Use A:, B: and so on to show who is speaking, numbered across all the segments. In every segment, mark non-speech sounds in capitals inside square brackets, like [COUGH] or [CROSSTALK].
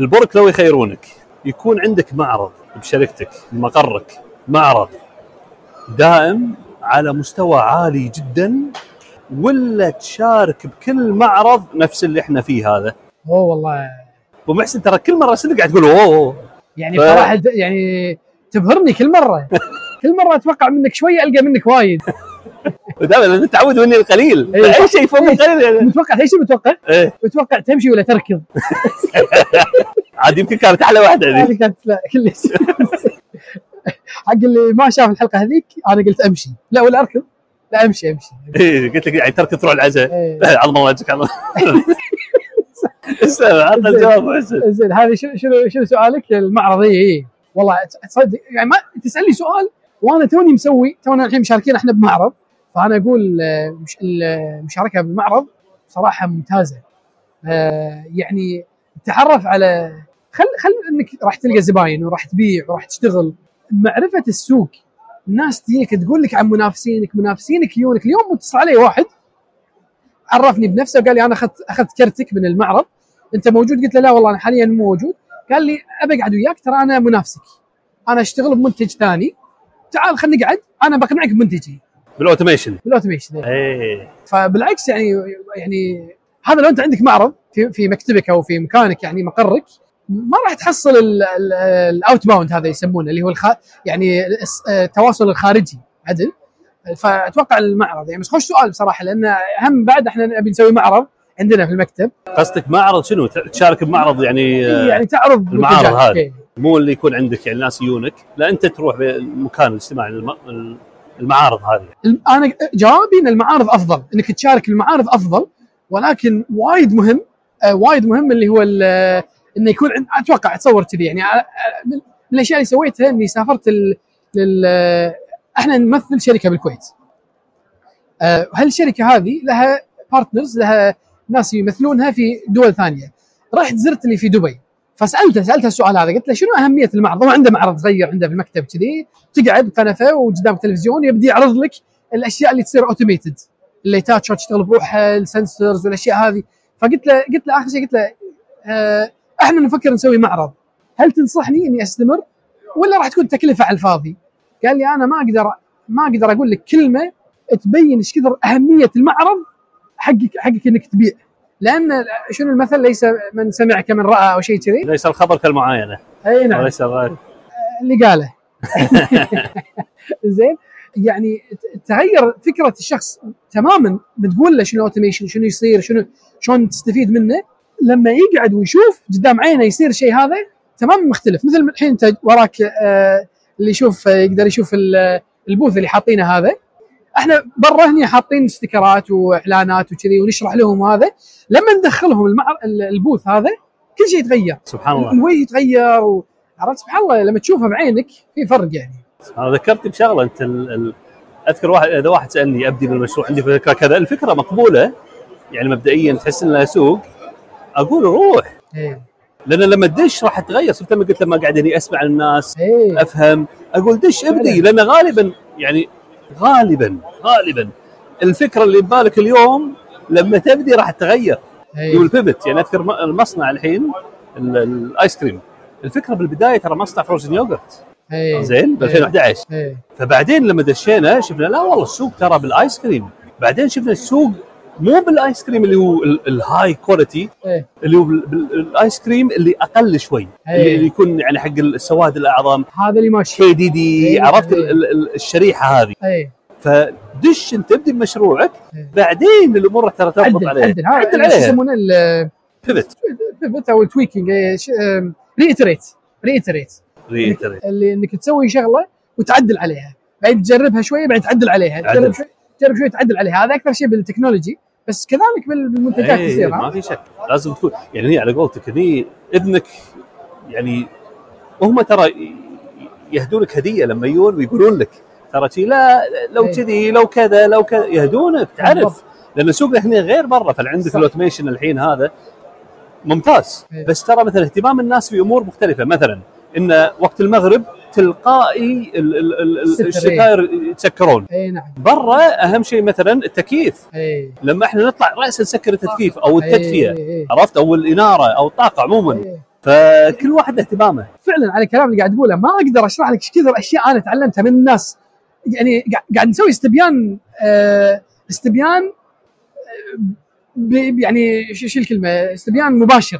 A: البرك لو يخيرونك يكون عندك معرض بشركتك بمقرك معرض دائم على مستوى عالي جدا ولا تشارك بكل معرض نفس اللي احنا فيه هذا
B: اوه والله
A: ابو محسن ترى كل مره ارسل قاعد تقول اوه أوه.
B: يعني
A: ف-
B: صراحه يعني تبهرني
A: [LAUGHS]
B: كل مره كل مره اتوقع منك شويه القى منك وايد
A: ودائما لأن متعود مني القليل
B: إيه.
A: اي شيء فوق القليل يعني.
B: متوقع اي شيء متوقع
A: إيه.
B: متوقع تمشي ولا تركض
A: عاد يمكن كانت احلى واحده ذي
B: هذه كانت لا كلش [LAUGHS] حق اللي ما شاف الحلقه هذيك انا قلت امشي لا ولا اركض لا امشي امشي
A: إيه، قلت لك يعني ترك تروح العزاء
B: إيه.
A: عظمه وجهك عظمه [LAUGHS] اسلم عطنا الجواب أبو محسن
B: زين هذه شنو شنو شنو سؤالك المعرض اي اي والله ت- تصدق يعني ما تسالني سؤال وانا توني مسوي تونا الحين مشاركين احنا بمعرض فانا اقول آه، مش المشاركه بالمعرض صراحه ممتازه آه، يعني التعرف على خل خل انك راح تلقى زباين وراح تبيع وراح تشتغل معرفه السوق الناس تجيك تقول لك عن منافسينك منافسينك يونك اليوم متصل علي واحد عرفني بنفسه وقال لي انا اخذت اخذت كرتك من المعرض انت موجود قلت له لا والله انا حاليا مو موجود قال لي ابى اقعد وياك ترى انا منافسك انا اشتغل بمنتج ثاني تعال خلينا نقعد انا بقنعك بمنتجي
A: بالاوتوميشن
B: بالاوتوميشن
A: ايه
B: فبالعكس يعني يعني هذا لو انت عندك معرض في في مكتبك او في مكانك يعني مقرك ما راح تحصل الاوت باوند هذا يسمونه اللي هو الخ... يعني الس- آه، التواصل الخارجي عدل فاتوقع المعرض يعني بس خوش سؤال بصراحه لان اهم بعد احنا نبي نسوي معرض عندنا في المكتب
A: قصدك معرض شنو تشارك بمعرض يعني آه،
B: يعني تعرض
A: المعارض
B: منتجاتك.
A: هذا.
B: إيه.
A: مو اللي يكون عندك يعني ناس يونك لا انت تروح مكان الاجتماع الم- المعارض هذه
B: الم- انا جوابي ان المعارض افضل انك تشارك المعارض افضل ولكن وايد مهم آه وايد مهم اللي هو ال- انه يكون عند- اتوقع اتصور كذي يعني آه، آه، من من الاشياء اللي سويتها اني سافرت ال- لل آه، احنا نمثل شركه بالكويت آه، هالشركه هذه لها بارتنرز لها ناس يمثلونها في دول ثانيه رحت زرت اللي في دبي فسالته سالته السؤال هذا قلت له شنو اهميه المعرض؟ هو عنده معرض صغير عنده في المكتب كذي تقعد قنفه وقدام تلفزيون يبدي يعرض لك الاشياء اللي تصير اوتوميتد الليتات شلون تشتغل بروحها السنسرز والاشياء هذه فقلت له قلت له اخر شيء قلت له آه احنا نفكر نسوي معرض هل تنصحني اني استمر ولا راح تكون تكلفه على الفاضي؟ قال لي انا ما اقدر ما اقدر اقول لك كلمه تبين ايش كثر اهميه المعرض حقك حقك انك تبيع لان شنو المثل ليس من سمع كمن راى او شيء كذي
A: ليس الخبر كالمعاينه
B: اي نعم
A: وليس الرأي
B: اللي قاله [LAUGHS] زين يعني ت- تغير فكره الشخص تماما بتقول له شنو اوتوميشن شنو يصير شنو شلون تستفيد منه لما يقعد ويشوف قدام عينه يصير شيء هذا تماما مختلف مثل الحين انت وراك آه، اللي يشوف آه، يقدر يشوف ال- البوث اللي حاطينه هذا احنا برا هنا حاطين استيكرات واعلانات وكذي ونشرح لهم هذا لما ندخلهم المعر... ال- البوث هذا كل شيء يتغير
A: سبحان الله
B: الوجه يتغير و... عرفت سبحان الله لما تشوفه بعينك في فرق يعني
A: انا ذكرت بشغله انت ال... ال... اذكر واحد اذا واحد سالني ابدي بالمشروع عندي فكره كذا الفكره مقبوله يعني مبدئيا تحس ان لها سوق اقول روح
B: ايه
A: لان لما تدش راح تغير شفت لما قلت لما قاعد هني اسمع الناس
B: ايه
A: افهم اقول دش ابدي لان غالبا يعني غالبا غالبا الفكره اللي ببالك اليوم لما تبدي راح تتغير
B: ايه
A: والبيفت يعني اذكر م- المصنع الحين ال- الايس كريم الفكره بالبدايه ترى مصنع فروزن يوغرت
B: ايه
A: زين ب 2011
B: ايه
A: فبعدين لما دشينا شفنا لا والله السوق ترى بالايس كريم بعدين شفنا السوق مو بالايس كريم اللي هو ال- الهاي كواليتي
B: إيه.
A: اللي هو بال- بال- الايس كريم اللي اقل شوي اللي
B: إيه.
A: اللي يكون يعني حق السواد الاعظم
B: هذا اللي ماشي
A: كي دي دي
B: إيه.
A: عرفت ال- ال- ال- الشريحه هذه
B: ايه
A: فدش انت تبدي بمشروعك
B: إيه.
A: بعدين الامور راح ترى تربط
B: عدل
A: عليها
B: عدل هذا يعني
A: عدل
B: شو إيه.
A: عليها
B: يسمونه ال- إيه،
A: بيفت
B: البيفت او التويكينج ريتريت ريتريت
A: ريتريت
B: اللي انك تسوي شغله وتعدل عليها بعدين تجربها شويه بعدين تعدل عليها
A: عدل.
B: تجرب شوي تجرب شويه تعدل عليها هذا اكثر شيء بالتكنولوجي بس كذلك بال- بالمنتجات
A: إيه،
B: تصير
A: ما
B: ها؟
A: في شك لازم تكون يعني هي على قولتك هني اذنك يعني وهم ترى يهدونك هديه لما يجون ويقولون لك ترى شي لا لو
B: إيه.
A: كذي لو كذا لو كذا يهدونك تعرف
B: بالضبط.
A: لان سوقنا هنا غير برا فعندك
B: صح.
A: الاوتوميشن الحين هذا ممتاز
B: إيه.
A: بس ترى مثلا اهتمام الناس في امور مختلفه مثلا ان وقت المغرب تلقائي ال- ال- ال-
B: الستر، إيه.
A: الشكاير يتسكرون
B: اي نعم إيه.
A: برا اهم شيء مثلا التكييف
B: اي
A: لما احنا نطلع راسا نسكر التكييف او التدفئه
B: ايه
A: عرفت او الاناره او الطاقه عموما
B: إيه.
A: فكل واحد اهتمامه
B: فعلا على الكلام اللي قاعد تقوله ما اقدر اشرح لك ايش كثر اشياء انا تعلمتها من الناس يعني قاعد- قاعد نسوي استبيان آه، استبيان آه، ب- يعني شو شو الكلمه استبيان مباشر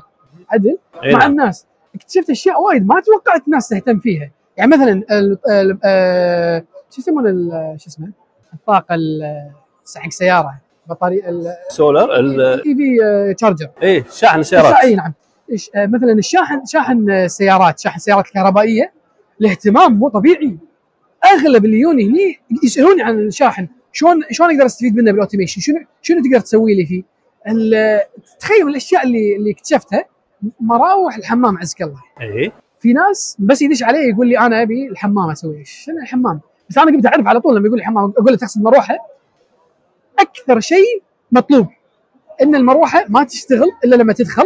B: عدل
A: إيه
B: مع
A: نعم.
B: الناس اكتشفت اشياء وايد ما توقعت الناس تهتم فيها يعني مثلا ال- ال- آه، شو يسمون ال- شو اسمه الطاقه ال- حق سياره بطاريه
A: سولر ال-
B: اي في تشارجر
A: ايه شاحن
B: الشا- اي
A: سيارات
B: نعم إيش- آه، مثلا الشاحن شاحن آه، سيارات شاحن سيارات الكهربائيه الاهتمام مو طبيعي اغلب اللي يوني هني يسالوني عن الشاحن شلون شلون اقدر استفيد منه بالاوتوميشن شنو شنو تقدر تسوي لي فيه ال- تخيل من الاشياء اللي اللي اكتشفتها مراوح الحمام عزك الله
A: ايه
B: في ناس بس يدش علي يقول لي انا ابي الحمام اسوي شنو الحمام بس انا قمت اعرف على طول لما يقول لي حمام اقول له تقصد مروحه اكثر شيء مطلوب ان المروحه ما تشتغل الا لما تدخل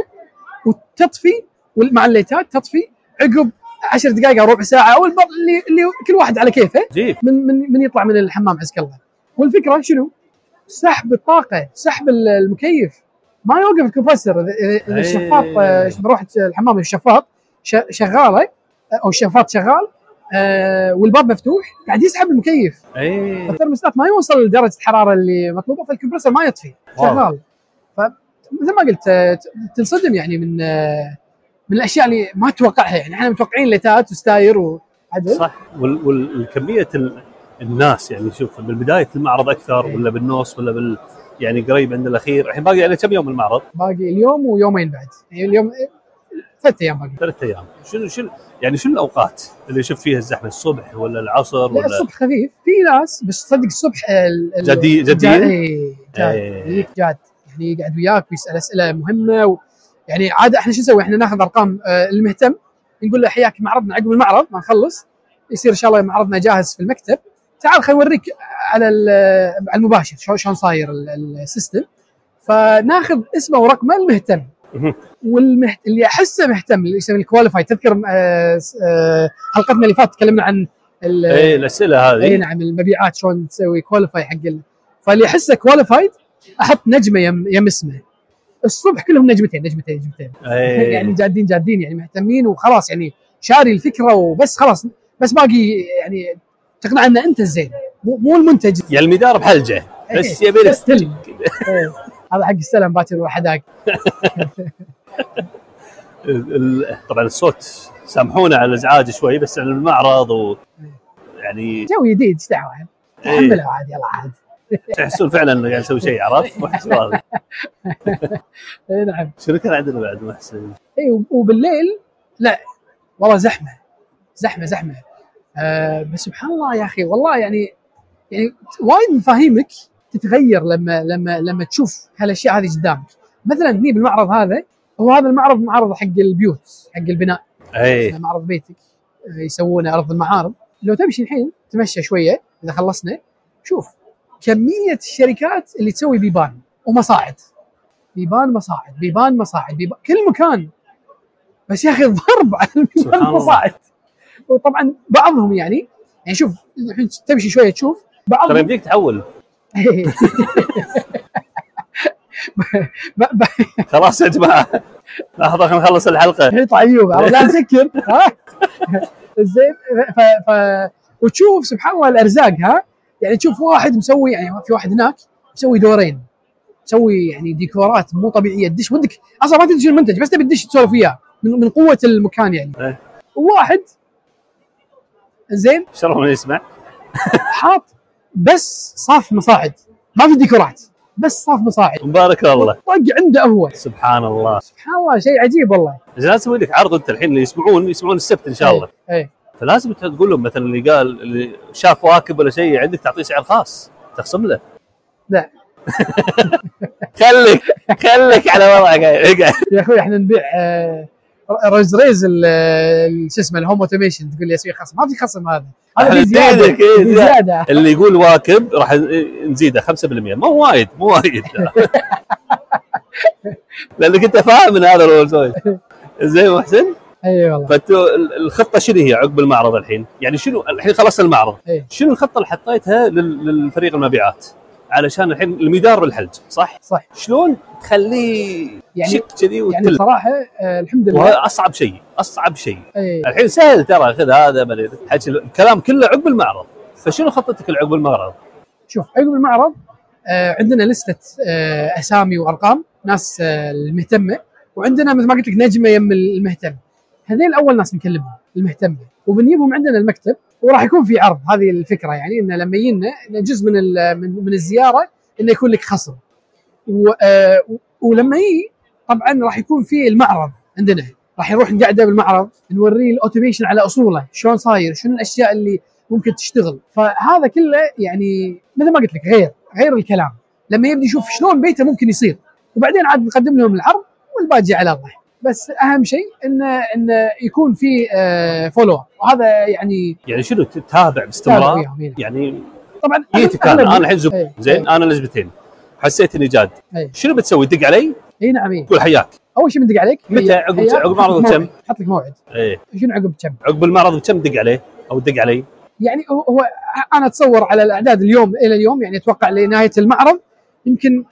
B: وتطفي مع الليتات تطفي عقب عشر دقائق او ربع ساعه او البر اللي, اللي كل واحد على كيفه
A: جيب
B: من من من يطلع من الحمام عزك الله والفكره شنو؟ سحب الطاقه سحب ال- المكيف ما يوقف الكمبرسر إذا- إذا- إذا
A: أي.
B: الشفاط آه، بروح الحمام الشفاط ش- شغاله او الشفاط شغال آه، والباب مفتوح قاعد يسحب المكيف
A: ايه
B: الترمستات ما يوصل لدرجه الحراره اللي مطلوبه فالكمبرسر ما يطفي
A: واو.
B: شغال فمثل ما قلت آه، ت- تنصدم يعني من آه، من الاشياء اللي ما تتوقعها يعني احنا متوقعين ليتات وستاير وعدل
A: صح وال- وال- والكميه ال- الناس يعني شوف بالبدايه المعرض اكثر
B: إيه.
A: ولا بالنص ولا بال يعني قريب عند الاخير الحين باقي عليه كم يوم المعرض؟
B: باقي اليوم ويومين بعد يعني اليوم ثلاث ايام باقي
A: ثلاث ايام شنو شنو يعني شنو الاوقات اللي شفت فيها الزحمه الصبح ولا العصر
B: لا
A: ولا
B: الصبح خفيف في ناس بس صدق الصبح ال- ال-
A: جدي- جديين؟
B: جا- إي، جاد
A: إيه.
B: يجيك جاد يعني يقعد وياك ويسال اسئله مهمه و... يعني عاده احنا شو نسوي؟ احنا ناخذ ارقام آه، المهتم نقول له حياك معرضنا عقب المعرض ما نخلص يصير ان شاء الله معرضنا جاهز في المكتب تعال خلينا نوريك على ال- آه، على المباشر شلون شلون صاير ال- ال- السيستم فناخذ اسمه ورقمه المهتم
A: مهم.
B: والمهت... اللي احسه مهتم اللي يسمي الكواليفاي تذكر آه، س- آه، حلقتنا اللي فاتت تكلمنا عن ال-
A: اي الاسئله
B: اي
A: إيه، هذه
B: نعم المبيعات شلون تسوي كواليفاي حق ال... فاللي يحسه كواليفايد احط نجمه يم, يم اسمه الصبح كلهم نجمتين نجمتين نجمتين
A: إي.
B: يعني جادين جادين يعني مهتمين وخلاص يعني شاري الفكره وبس خلاص بس باقي يعني تقنع ان انت الزين مو, مو المنتج
A: يعني المدار بحلجه بس يبي لك
B: بس تلم إيه. هذا حق السلام باكر وحداك
A: ال- ال- طبعا الصوت سامحونا على الازعاج شوي بس عن المعرض و يعني
B: جو جديد ايش دعوه
A: إيه
B: تحمله عادي يلا عادي
A: تحسون فعلا انه قاعد نسوي شيء عرفت؟ مو حس راضي.
B: إيه نعم
A: شنو كان عندنا بعد محسن؟
B: اي وب- إيه، وبالليل لا والله زحمه زحمه زحمه آه بس سبحان الله يا اخي والله يعني يعني وايد مفاهيمك تتغير لما لما لما تشوف هالاشياء هذه قدامك مثلا هني بالمعرض هذا هو هذا المعرض معرض حق البيوت حق البناء
A: اي
B: معرض بيتك آه، يسوونه ارض المعارض لو تمشي الحين تمشى شويه اذا خلصنا شوف كميه الشركات اللي تسوي بيبان ومصاعد بيبان مصاعد بيبان مصاعد بيبان كل مكان بس يا اخي ضرب على
A: سبحان
B: [LAUGHS] البيبان
A: الله.
B: مصاعد وطبعا بعضهم يعني يعني شوف الحين تمشي شويه تشوف
A: ترى
B: بعضهم
A: طيب، يمديك تحول
B: [LAUGHS] ب- ب-
A: خلاص يا جماعه لحظه خلينا نخلص الحلقه
B: حيط عيوب عرفت؟ ايه طيب، لا تسكر ها زين ف... ف... وتشوف سبحان الله الارزاق ها يعني تشوف واحد مسوي يعني في واحد هناك مسوي دورين مسوي يعني ديكورات مو طبيعيه تدش ودك اصلا ما تدري شنو المنتج بس تبي تدش تسولف وياه من... من قوه المكان يعني
A: إيه.
B: وواحد زين
A: شرف من يسمع
B: حاط بس صاف مصاعد ما في ديكورات بس صاف مصاعد
A: مبارك الله
B: طق عنده هو
A: سبحان الله
B: سبحان الله شيء عجيب والله
A: إذا لازم اسوي لك عرض انت الحين اللي يسمعون يسمعون السبت ان شاء الله
B: اي
A: فلازم انت تقول لهم مثلا اللي قال اللي شاف واكب ولا شيء عندك تعطيه سعر خاص تخصم له
B: لا.
A: [LAUGHS] خليك خليك على إيه، وضعك اقعد
B: يا اخوي احنا نبيع آه، روز ريز ال- ال- شو اسمه الهوم اوتوميشن تقول لي اسوي خصم ما في خصم هذا هذا
A: أحنا
B: في زياده
A: بيدك، إيه،
B: في
A: زيادة.
B: زياده
A: اللي يقول واكب راح نزيده 5% مو وايد مو وايد [LAUGHS] لانك انت فاهم من هذا الرول سويس زين محسن
B: اي والله
A: فتو ال- الخطه شنو هي عقب المعرض الحين؟ يعني شنو الحين خلصنا المعرض
B: إيه.
A: شنو الخطه اللي حطيتها لل- للفريق المبيعات؟ علشان الحين المدار بالحلج صح؟
B: صح
A: شلون تخليه
B: يعني-
A: شيك كذي
B: يعني
A: وتل
B: بصراحه آه الحمد لله
A: وهذا اصعب شيء اصعب شيء
B: اي
A: الحين سهل ترى خذ هذا من حكي الكلام كله عقب المعرض فشنو خطتك العقب المعرض؟
B: شوف عقب المعرض آه عندنا لسته آه اسامي وارقام ناس آه المهتمه وعندنا مثل ما قلت لك نجمه يم المهتم هذيل اول ناس نكلمهم المهتمه وبنجيبهم عندنا المكتب وراح يكون في عرض هذه الفكره يعني انه لما يجينا إنه جزء من ال- من من الزياره انه يكون لك خصم و- آه، و- ولما يجي طبعا راح يكون في المعرض عندنا راح يروح نقعده بالمعرض نوريه الاوتوميشن على اصوله شلون صاير شنو الاشياء اللي ممكن تشتغل فهذا كله يعني مثل ما قلت لك غير غير الكلام لما يبدي يشوف شلون بيته ممكن يصير وبعدين عاد نقدم لهم العرض والباقي على الله بس اهم شيء انه انه يكون في فولو وهذا يعني
A: يعني شنو تتابع
B: تابع
A: باستمرار؟
B: وياهم إيه. هنا.
A: يعني
B: طبعا
A: جيتك انا انا الحين زب-
B: إيه.
A: زين انا لزبتين حسيت اني جاد
B: إيه.
A: شنو بتسوي؟ دق علي؟
B: اي نعم إي.
A: تقول حياك
B: اول شيء بندق عليك
A: متى؟
B: هي-
A: عقب-
B: هي-
A: عقب معرض
B: حط لك
A: كم؟
B: موعد. حط لك موعد
A: ايه
B: شنو عقب كم؟
A: عقب المعرض كم دق عليه؟ او دق علي؟
B: يعني هو هو انا اتصور على الاعداد اليوم الى اليوم يعني اتوقع لنهايه المعرض يمكن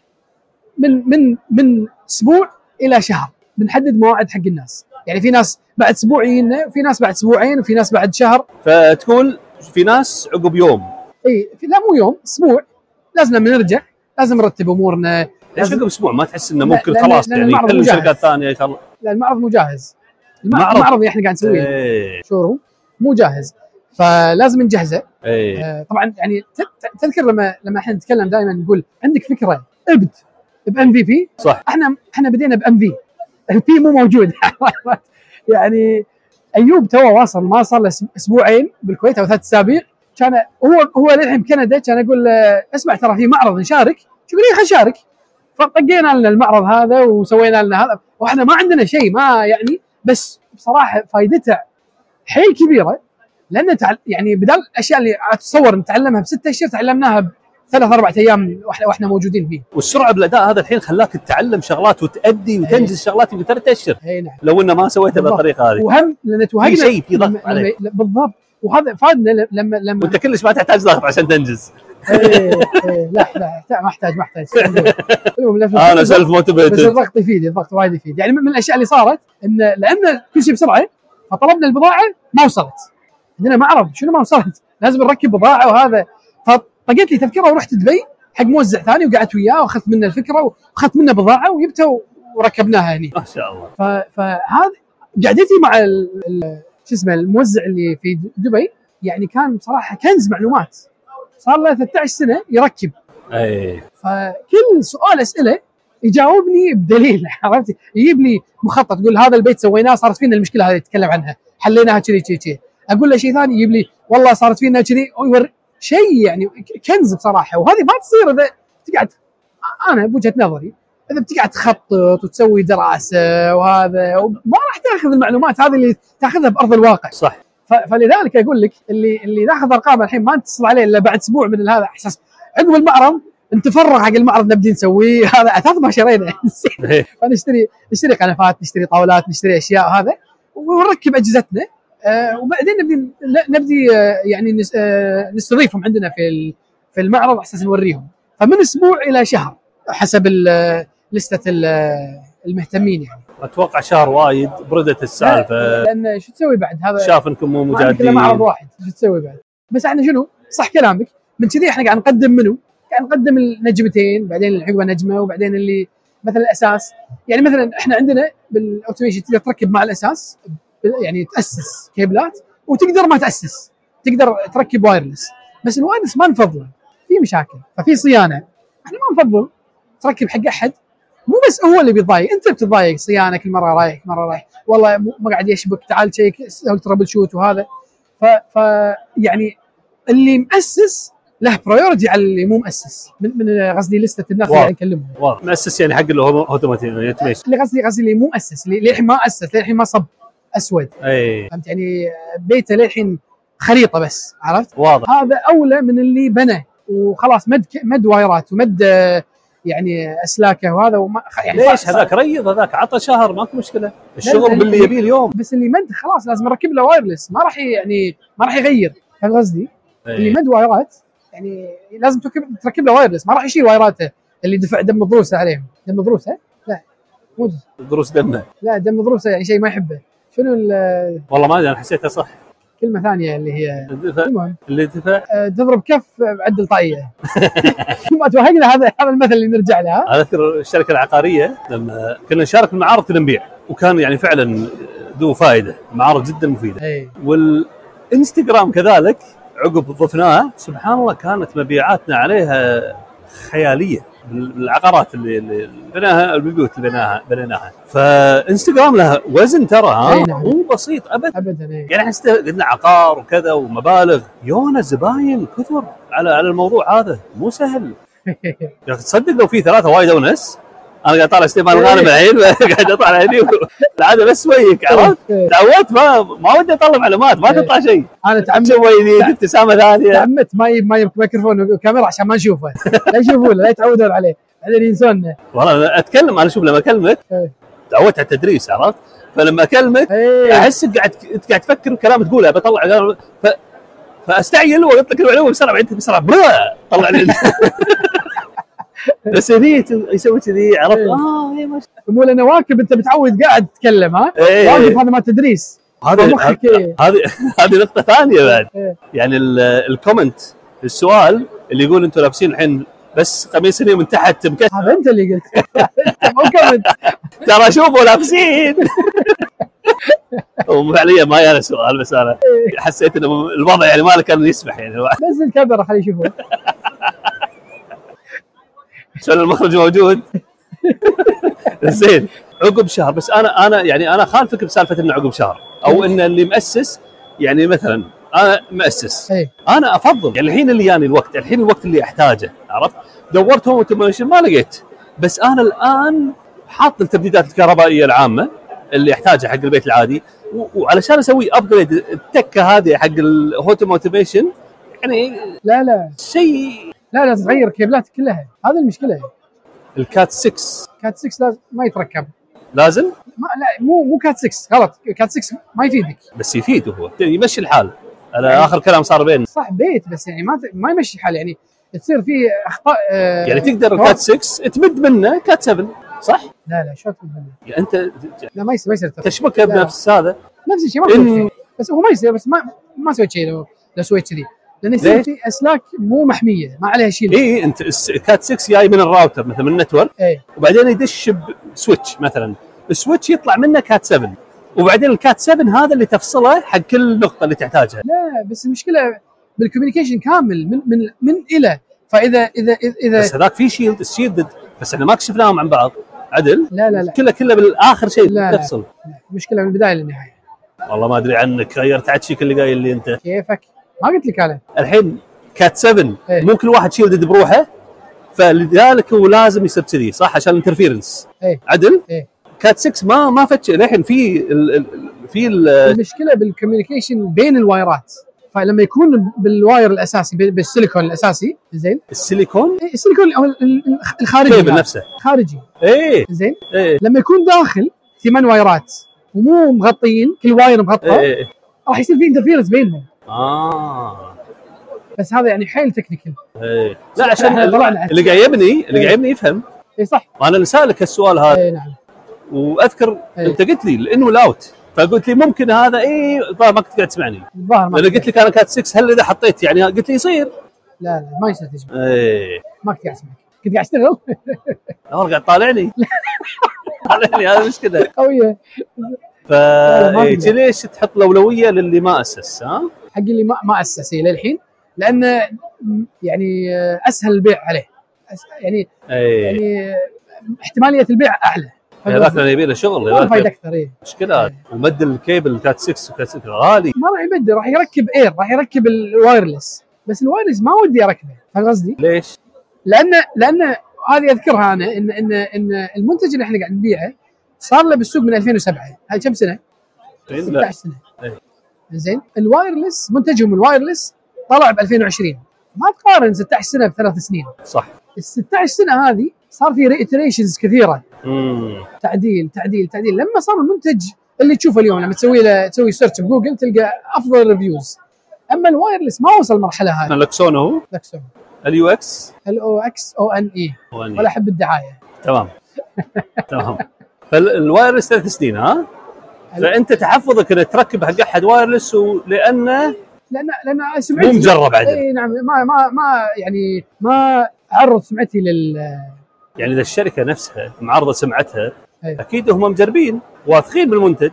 B: من من من اسبوع الى شهر بنحدد مواعيد حق الناس يعني في ناس بعد اسبوع يجينا وفي ناس بعد اسبوعين وفي ناس بعد شهر
A: فتقول في ناس عقب يوم
B: اي في- لا مو يوم اسبوع لازم لما نرجع لازم نرتب امورنا
A: ليش
B: لازم-
A: عقب اسبوع ما تحس انه
B: لا-
A: ممكن
B: لأن-
A: خلاص
B: لأن
A: يعني
B: المعرض
A: خلوا
B: مجهز.
A: شركات ثانيه يخل-
B: لا المعرض مو جاهز الم-
A: معرض.
B: المعرض اللي احنا قاعد نسويه
A: ايه
B: شهور مو جاهز فلازم نجهزه
A: ايه
B: آه، طبعا يعني ت- ت- تذكر لما لما احنا نتكلم دائما نقول عندك فكره ابد بام في بي
A: صح.
B: احنا احنا بدينا بام [LAUGHS] في البي مو موجود [LAUGHS] يعني ايوب تو واصل ما صار له أس- اسبوعين بالكويت او ثلاث اسابيع كان هو هو للحين بكندا كان اقول له، اسمع ترى في معرض نشارك شو يقول لي خلينا نشارك فطقينا لنا المعرض هذا وسوينا لنا هذا واحنا ما عندنا شيء ما يعني بس بصراحه فائدته حيل كبيره لان تعل... يعني بدل الاشياء اللي اتصور نتعلمها بستة اشهر تعلمناها بثلاث اربع ايام واحنا واحنا موجودين فيه.
A: والسرعه بالاداء هذا الحين خلاك تتعلم شغلات وتادي وتنجز شغلات يمكن ثلاث اشهر
B: اي نعم.
A: لو انه ما سويتها
B: إيه. بالضبط.
A: بالطريقه هذه
B: وهم لان توهقنا
A: طيب. في شيء في
B: لما-
A: ضغط
B: لما-
A: عليك
B: لا، بالضبط وهذا فادنا ل- لما لما
A: وانت كلش ما تحتاج ضغط عشان تنجز
B: إيه، إيه، لا لا لا، ما احتاج ما احتاج المهم، لأن-
A: انا سيلف
B: بس
A: موتيفيتد
B: الضغط يفيد الضغط وايد يفيد يعني من الاشياء اللي صارت ان لان كل شيء بسرعه فطلبنا البضاعه ما وصلت عندنا معرض شنو ما وصلت لازم نركب بضاعه وهذا فطقيت لي تذكره ورحت دبي حق موزع ثاني وقعدت وياه واخذت منه الفكره واخذت منه بضاعه وجبتها وركبناها هني
A: ما شاء الله
B: ف- فهذا قعدتي مع ال- ال- شو اسمه الموزع اللي في دبي يعني كان بصراحه كنز معلومات صار له 13 سنه يركب
A: ايه
B: فكل سؤال اساله يجاوبني بدليل [LAUGHS] عرفت يجيب لي مخطط يقول هذا البيت سويناه صارت فينا المشكله هذه يتكلم عنها حليناها كذي كذي كذي اقول له شيء ثاني يجيب لي والله صارت فينا كذي ويور- شيء يعني ك- كنز بصراحه وهذه ما تصير اذا تقعد انا بوجهه نظري اذا بتقعد تخطط وتسوي دراسه وهذا ما راح تاخذ المعلومات هذه اللي تاخذها بارض الواقع
A: صح
B: ف- فلذلك اقول لك اللي اللي ناخذ ارقام الحين ما نتصل عليه الا بعد اسبوع من هذا احساس عقب المعرض نتفرغ حق المعرض نبدي نسويه [LAUGHS] هذا اعتقد ما شرينا [LAUGHS]
A: إيه.
B: فنشتري نشتري قنفات نشتري طاولات نشتري اشياء هذا ونركب اجهزتنا آه، وبعدين نبدي لا- نبدي آه، يعني نس- آه، نستضيفهم عندنا في ال- في المعرض على اساس نوريهم فمن اسبوع الى شهر حسب ال- لستة ال- المهتمين يعني
A: اتوقع شهر وايد بردت السالفه
B: لان شو تسوي بعد هذا
A: شاف انكم مو
B: إيه. ما عندك الا
A: مجادين
B: معرض واحد شو تسوي بعد؟ بس احنا شنو؟ صح كلامك من كذي احنا قاعد نقدم منو؟ قاعد نقدم النجمتين بعدين اللي عقبه نجمه وبعدين اللي مثلا الاساس يعني مثلا احنا عندنا بالاوتوميشن تقدر تركب مع الاساس بال- يعني تاسس كيبلات وتقدر ما تاسس تقدر تركب وايرلس بس الوايرلس ما نفضله في مشاكل ففي صيانه احنا ما نفضل تركب حق احد مو بس هو اللي بيتضايق انت بتتضايق صيانه كل مره رايح كل مره رايح والله مو- ما قاعد يشبك تعال تشيك سوي تربل شوت وهذا ف, ف يعني اللي مؤسس له برايورتي على اللي مو مؤسس من, من قصدي لسته الناس اللي
A: واو.
B: قاعد نكلمهم
A: واضح. مؤسس يعني حق الاوتوماتيك
B: اللي قصدي قصدي اللي مو مؤسس اللي للحين ما اسس للحين ما صب اسود
A: اي
B: فهمت يعني بيته للحين خريطه بس عرفت
A: واضح
B: هذا اولى من اللي بنى وخلاص مد مد وايرات ومد آه، يعني اسلاكه وهذا وما يعني
A: ليش
B: صح-
A: هذاك ريض هذاك عطى شهر ماكو مشكله
B: لا،
A: الشغل باللي
B: لا.
A: يبيه اليوم
B: بس اللي مد خلاص لازم اركب له وايرلس ما راح ي- يعني ما راح يغير فاهم قصدي؟
A: إيه.
B: اللي مد وايرات يعني لازم تركب تركب له وايرلس ما راح يشيل وايراته اللي دفع دم ضروسه عليهم دم ضروسه؟ لا مو دروس.
A: دروس دمه
B: لا دم ضروسه يعني شيء ما يحبه شنو ال-
A: والله ما ادري انا حسيتها صح
B: كلمه ثانيه اللي هي
A: الدفع-
B: المهم
A: اللي دفع
B: آه، تضرب كف آه، عدل
A: [LAUGHS]
B: طاقيه [LAUGHS] ما توهقنا هذا هذا المثل اللي نرجع له ها؟
A: انا اذكر الشركه العقاريه لما كنا نشارك في المعارض كنا نبيع وكان يعني فعلا ذو فائده معارض جدا مفيده
B: اي
A: والانستغرام كذلك عقب ضفناه سبحان الله كانت مبيعاتنا عليها خياليه بالعقارات اللي اللي بناها البيوت اللي بناها بنيناها فانستغرام لها وزن ترى
B: أي
A: ها
B: نعم.
A: مو بسيط ابدا
B: ابدا اي
A: يعني احنا است- قلنا عقار وكذا ومبالغ يونا زباين كثر على على الموضوع هذا مو سهل
B: إيه.
A: يا
B: [LAUGHS]
A: اخي يعني تصدق لو في ثلاثه وايد اونس انا قاعد طالع ستيفان الغانم الحين [LAUGHS] قاعد اطالع هني العاده بس ويك
B: إيه.
A: عرفت؟ تعودت ما ما ودي اطلع معلومات ما تطلع شيء
B: انا تعمدت
A: مسوي ذي ابتسامه ثانيه
B: تعمدت ما يب- ما يب- ميكروفون وكاميرا عشان ما نشوفه لا يشوفونه لا يتعودون عليه بعدين ينسونا
A: والله أنا اتكلم انا شوف لما اكلمك
B: إيه.
A: تعودت على التدريس عرفت؟ فلما اكلمك
B: اي
A: احسك قاعد انت قاعد تفكر بكلام تقوله بطلع كلام- ف... فاستعجل واقول لك المعلومه بسرعه بعدين بسرعه بلا طلع لي بس هني يسوي كذي عرفت؟
B: إيه.
A: اه إيه، ما شاء
B: مو لان واكب انت متعود قاعد تتكلم ها
A: الله. إيه.
B: واقف هذا ما تدريس
A: هذه
B: مخك إيه.
A: هذه [LAUGHS] هذه نقطه ثانيه بعد
B: إيه.
A: يعني ال- الكومنت السؤال اللي يقول انتم لابسين الحين بس قميص لي من تحت مكسر
B: هذا انت اللي قلت [LAUGHS] مو كمل
A: ترى شوفوا لابسين [LAUGHS] وفعليا ما يانا سؤال بس انا حسيت انه الوضع يعني ما له كان يسمح يعني
B: نزل الكاميرا خليه يشوفون
A: عشان المخرج موجود [LAUGHS] زين عقب شهر بس انا انا يعني انا خالفك بسالفه انه عقب شهر او ان اللي مؤسس يعني مثلا انا مؤسس
B: اي
A: انا افضل يعني الحين اللي يعني الوقت الحين الوقت اللي احتاجه عرفت دورت هوم اوتوميشن ما لقيت بس انا الان حاط التبديدات الكهربائيه العامه اللي احتاجها حق البيت العادي و- وعلشان اسوي ابجريد التكه هذه حق الهوم اوتوميشن يعني
B: لا لا
A: شيء
B: لا لازم تغير كيبلاتك كلها هذه المشكله
A: الكات 6
B: كات 6 لازم ما يتركب
A: لازم
B: ما لا مو مو كات 6 غلط كات 6 ما يفيدك
A: بس يفيد هو يعني يمشي الحال انا اخر كلام صار بين
B: صح بيت بس يعني ما ت- ما يمشي حال يعني تصير في اخطاء آه،
A: يعني تقدر الكات 6 تمد منه كات 7 صح؟
B: لا لا شو تقول هذا؟
A: يعني انت
B: لا ما يصير ما يصير تركب.
A: تشبكه
B: لا.
A: بنفس هذا
B: نفس الشيء ما سويت شيء. بس هو ما يصير بس ما ما سويت شيء لو لو سويت كذي لان يصير
A: ليش؟ إيه.
B: في اسلاك مو محميه ما عليها شيء
A: اي انت الس- كات 6 جاي من الراوتر مثلا من النتورك
B: اي
A: وبعدين يدش بسويتش مثلا السويتش يطلع منه كات 7 وبعدين الكات 7 هذا اللي تفصله حق كل نقطه اللي تحتاجها
B: لا بس المشكله بالكوميونيكيشن كامل من من من الى فاذا اذا اذا, إذا
A: بس هذاك في شيلد الشيلد بس احنا ما كشفناهم عن بعض عدل
B: لا لا لا
A: كله كله بالاخر شيء
B: لا، لا.
A: تفصل
B: المشكله من البدايه للنهايه
A: والله ما ادري عنك غيرت عاد اللي قايل لي انت
B: كيفك ما قلت لك انا
A: الحين كات 7
B: إيه.
A: مو كل واحد شيلدد بروحه فلذلك هو لازم يصير كذي صح عشان الانترفيرنس
B: إيه.
A: عدل؟
B: إيه.
A: كات 6 ما ما فتش للحين في ال- ال- في ال-
B: المشكله بالكوميونيكيشن بين الوايرات فلما يكون بالواير الاساسي بال- بالسيليكون الاساسي زين
A: السيليكون
B: إيه، السيليكون ال- ال- ال- الخارجي
A: كيبل
B: لا،
A: نفسه
B: خارجي
A: ايه
B: زين
A: ايه
B: لما يكون داخل ثمان وايرات ومو مغطيين كل واير مغطى
A: ايه
B: راح يصير في انترفيرنس بينهم
A: اه
B: بس هذا يعني حيل تكنيكال
A: ايه لا عشان
B: إحنا طلعنا
A: اللي
B: عن-
A: اللي قايبني اللي
B: إيه.
A: قايبني يفهم
B: اي صح
A: وانا اللي سالك السؤال هذا
B: اي نعم
A: واذكر
B: إيه.
A: انت قلت لي الان والاوت فقلت لي ممكن هذا اي الظاهر ما كنت قاعد تسمعني
B: الظاهر ما
A: لان قلت لك انا كات 6 هل اذا حطيت يعني قلت لي يصير
B: لا لا ما يصير تجمع
A: ايه
B: ما كنت قاعد اسمعك كنت قاعد اشتغل [LAUGHS]
A: هو قاعد طالعني طالعني هذا مشكله
B: قويه لا،
A: فا
B: ما
A: إيه،
B: أقدر.
A: ليش تحط الاولويه للي ما اسس ها؟
B: حق اللي ما ما اسس إيه للحين لانه م- يعني آه، اسهل البيع عليه أس- يعني
A: ايه
B: يعني آه، احتماليه البيع اعلى
A: هذاك لأنه يبي له شغل
B: ما له
A: هذاك
B: فايده اكثر إيه.
A: مشكلات ومد الكيبل كات 6 وكات 6 غالي
B: ما راح يبدل راح يركب اير راح يركب الوايرلس بس الوايرلس ما ودي اركبه فاهم قصدي؟
A: ليش؟
B: لان لان هذه اذكرها انا ان ان ان المنتج اللي احنا قاعد نبيعه صار له بالسوق من 2007 هاي كم سنه؟
A: لا
B: 16 سنه
A: إيه.
B: زين الوايرلس منتجهم الوايرلس طلع ب 2020 ما تقارن 16 سنه بثلاث سنين
A: صح
B: ال 16 سنه هذه صار في ريتريشنز كثيره
A: امم
B: تعديل تعديل تعديل لما صار المنتج اللي تشوفه اليوم لما تسوي له تسوي سيرش بجوجل تلقى افضل ريفيوز اما الوايرلس ما وصل المرحله هذه
A: لكسون هو
B: لكسون
A: اليو اكس
B: الاو اكس او ان اي E. ولا احب الدعايه
A: تمام تمام فالوايرلس ثلاث سنين ها فانت تحفظك انك تركب حق احد وايرلس لانه
B: لان لان سمعتي
A: مو مجرب عدل
B: اي نعم ما ما ما يعني ما عرض سمعتي لل
A: يعني اذا الشركه نفسها معرضه سمعتها
B: أي.
A: اكيد هم مجربين واثقين بالمنتج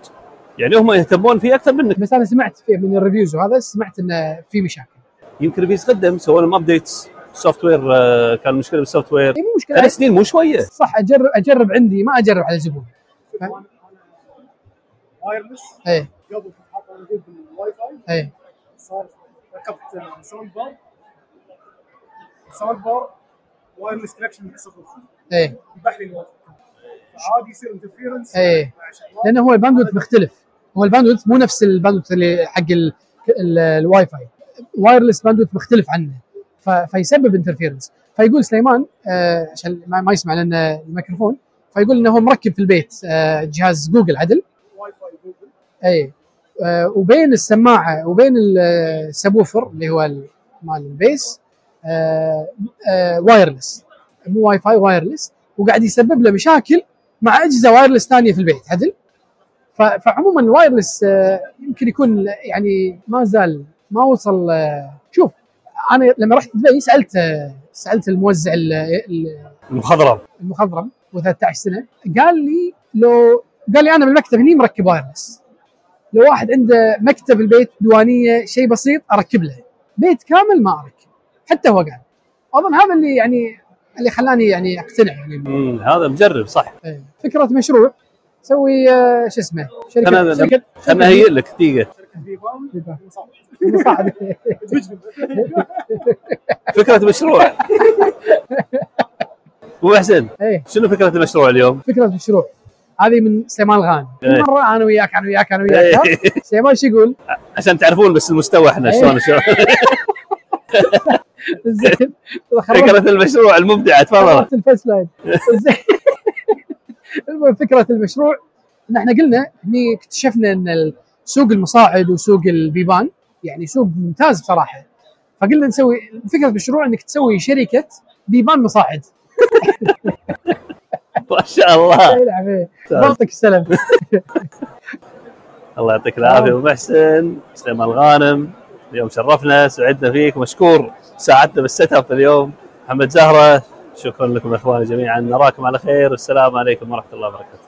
A: يعني هم يهتمون فيه اكثر منك
B: بس انا سمعت في من الريفيوز وهذا سمعت انه في مشاكل
A: يمكن في قدم سووا لهم ابديتس سوفت وير كان مشكله بالسوفت وير
B: اي مو مشكله
A: ثلاث سنين مو شويه
B: صح اجرب اجرب عندي ما اجرب على زبون ف-
C: وايرلس
B: ايه
C: قبل كنت حاطه موجود بالواي فاي
B: ايه
C: صار ركبت ساوند بار ساوند بار وايرلس كونكشن مع صفر
B: ايه
C: يذبح لي الواي فاي عادي يصير انترفيرنس
B: ايه لانه هو الباندويث مختلف هو الباندويث مو نفس الباندويث اللي حق ال- ال- الواي فاي وايرلس باندويث مختلف عنه ف- فيسبب انترفيرنس فيقول سليمان آه، عشان ما ما يسمع لنا الميكروفون فيقول انه هو مركب في البيت آه، جهاز جوجل عدل
C: واي فاي جوجل
B: اي آه، وبين السماعه وبين ال- السبوفر اللي هو ال- مال البيس آه، آه، وايرلس مو واي فاي وايرلس وقاعد يسبب له مشاكل مع اجهزه وايرلس ثانيه في البيت عدل ف- فعموما الوايرلس آه، يمكن يكون يعني ما زال ما وصل آه، شوف انا لما رحت دبي سالت آه، سالت الموزع ال- ال-
A: المخضرم
B: المخضرم و13 سنه قال لي لو قال لي انا بالمكتب هني مركب وايرلس لو واحد عنده مكتب البيت ديوانيه شيء بسيط اركب له بيت كامل ما اركب حتى هو قال اظن هذا اللي يعني اللي خلاني يعني اقتنع يعني
A: مم، هذا مجرب صح
B: إيه. فكره مشروع سوي آه، شو اسمه شركه
A: أنا-
B: شركه
A: انا هيئ لك دقيقه
C: شركه فيفام [LAUGHS] مصاب
B: مساعدة.
A: فكره [LAUGHS] مشروع ابو حسين
B: [LAUGHS] إيه.
A: شنو فكره المشروع اليوم؟
B: فكره مشروع هذه من سليمان الغانم
A: إيه.
B: مره انا وياك انا وياك انا وياك ها؟ سليمان شو يقول؟
A: عشان تعرفون بس المستوى احنا
B: إيه.
A: شلون شلون
B: زين
A: فكره المشروع المبدعه تفضل
B: خربت الفيس لاين زين. [LAUGHS] المهم فكره المشروع ان احنا قلنا هني اكتشفنا ان ال- سوق المصاعد وسوق البيبان يعني سوق ممتاز بصراحه فقلنا نسوي فكره المشروع انك تسوي شركه بيبان مصاعد
A: ما شاء الله
B: يلعب إيه. ضبطك السلام
A: الله يعطيك العافيه ابو محسن سليمان الغانم اليوم شرفنا سعدنا فيك مشكور ساعدنا بالست اب اليوم محمد زهره شكرا لكم يا اخواني جميعا نراكم على خير والسلام عليكم ورحمه الله وبركاته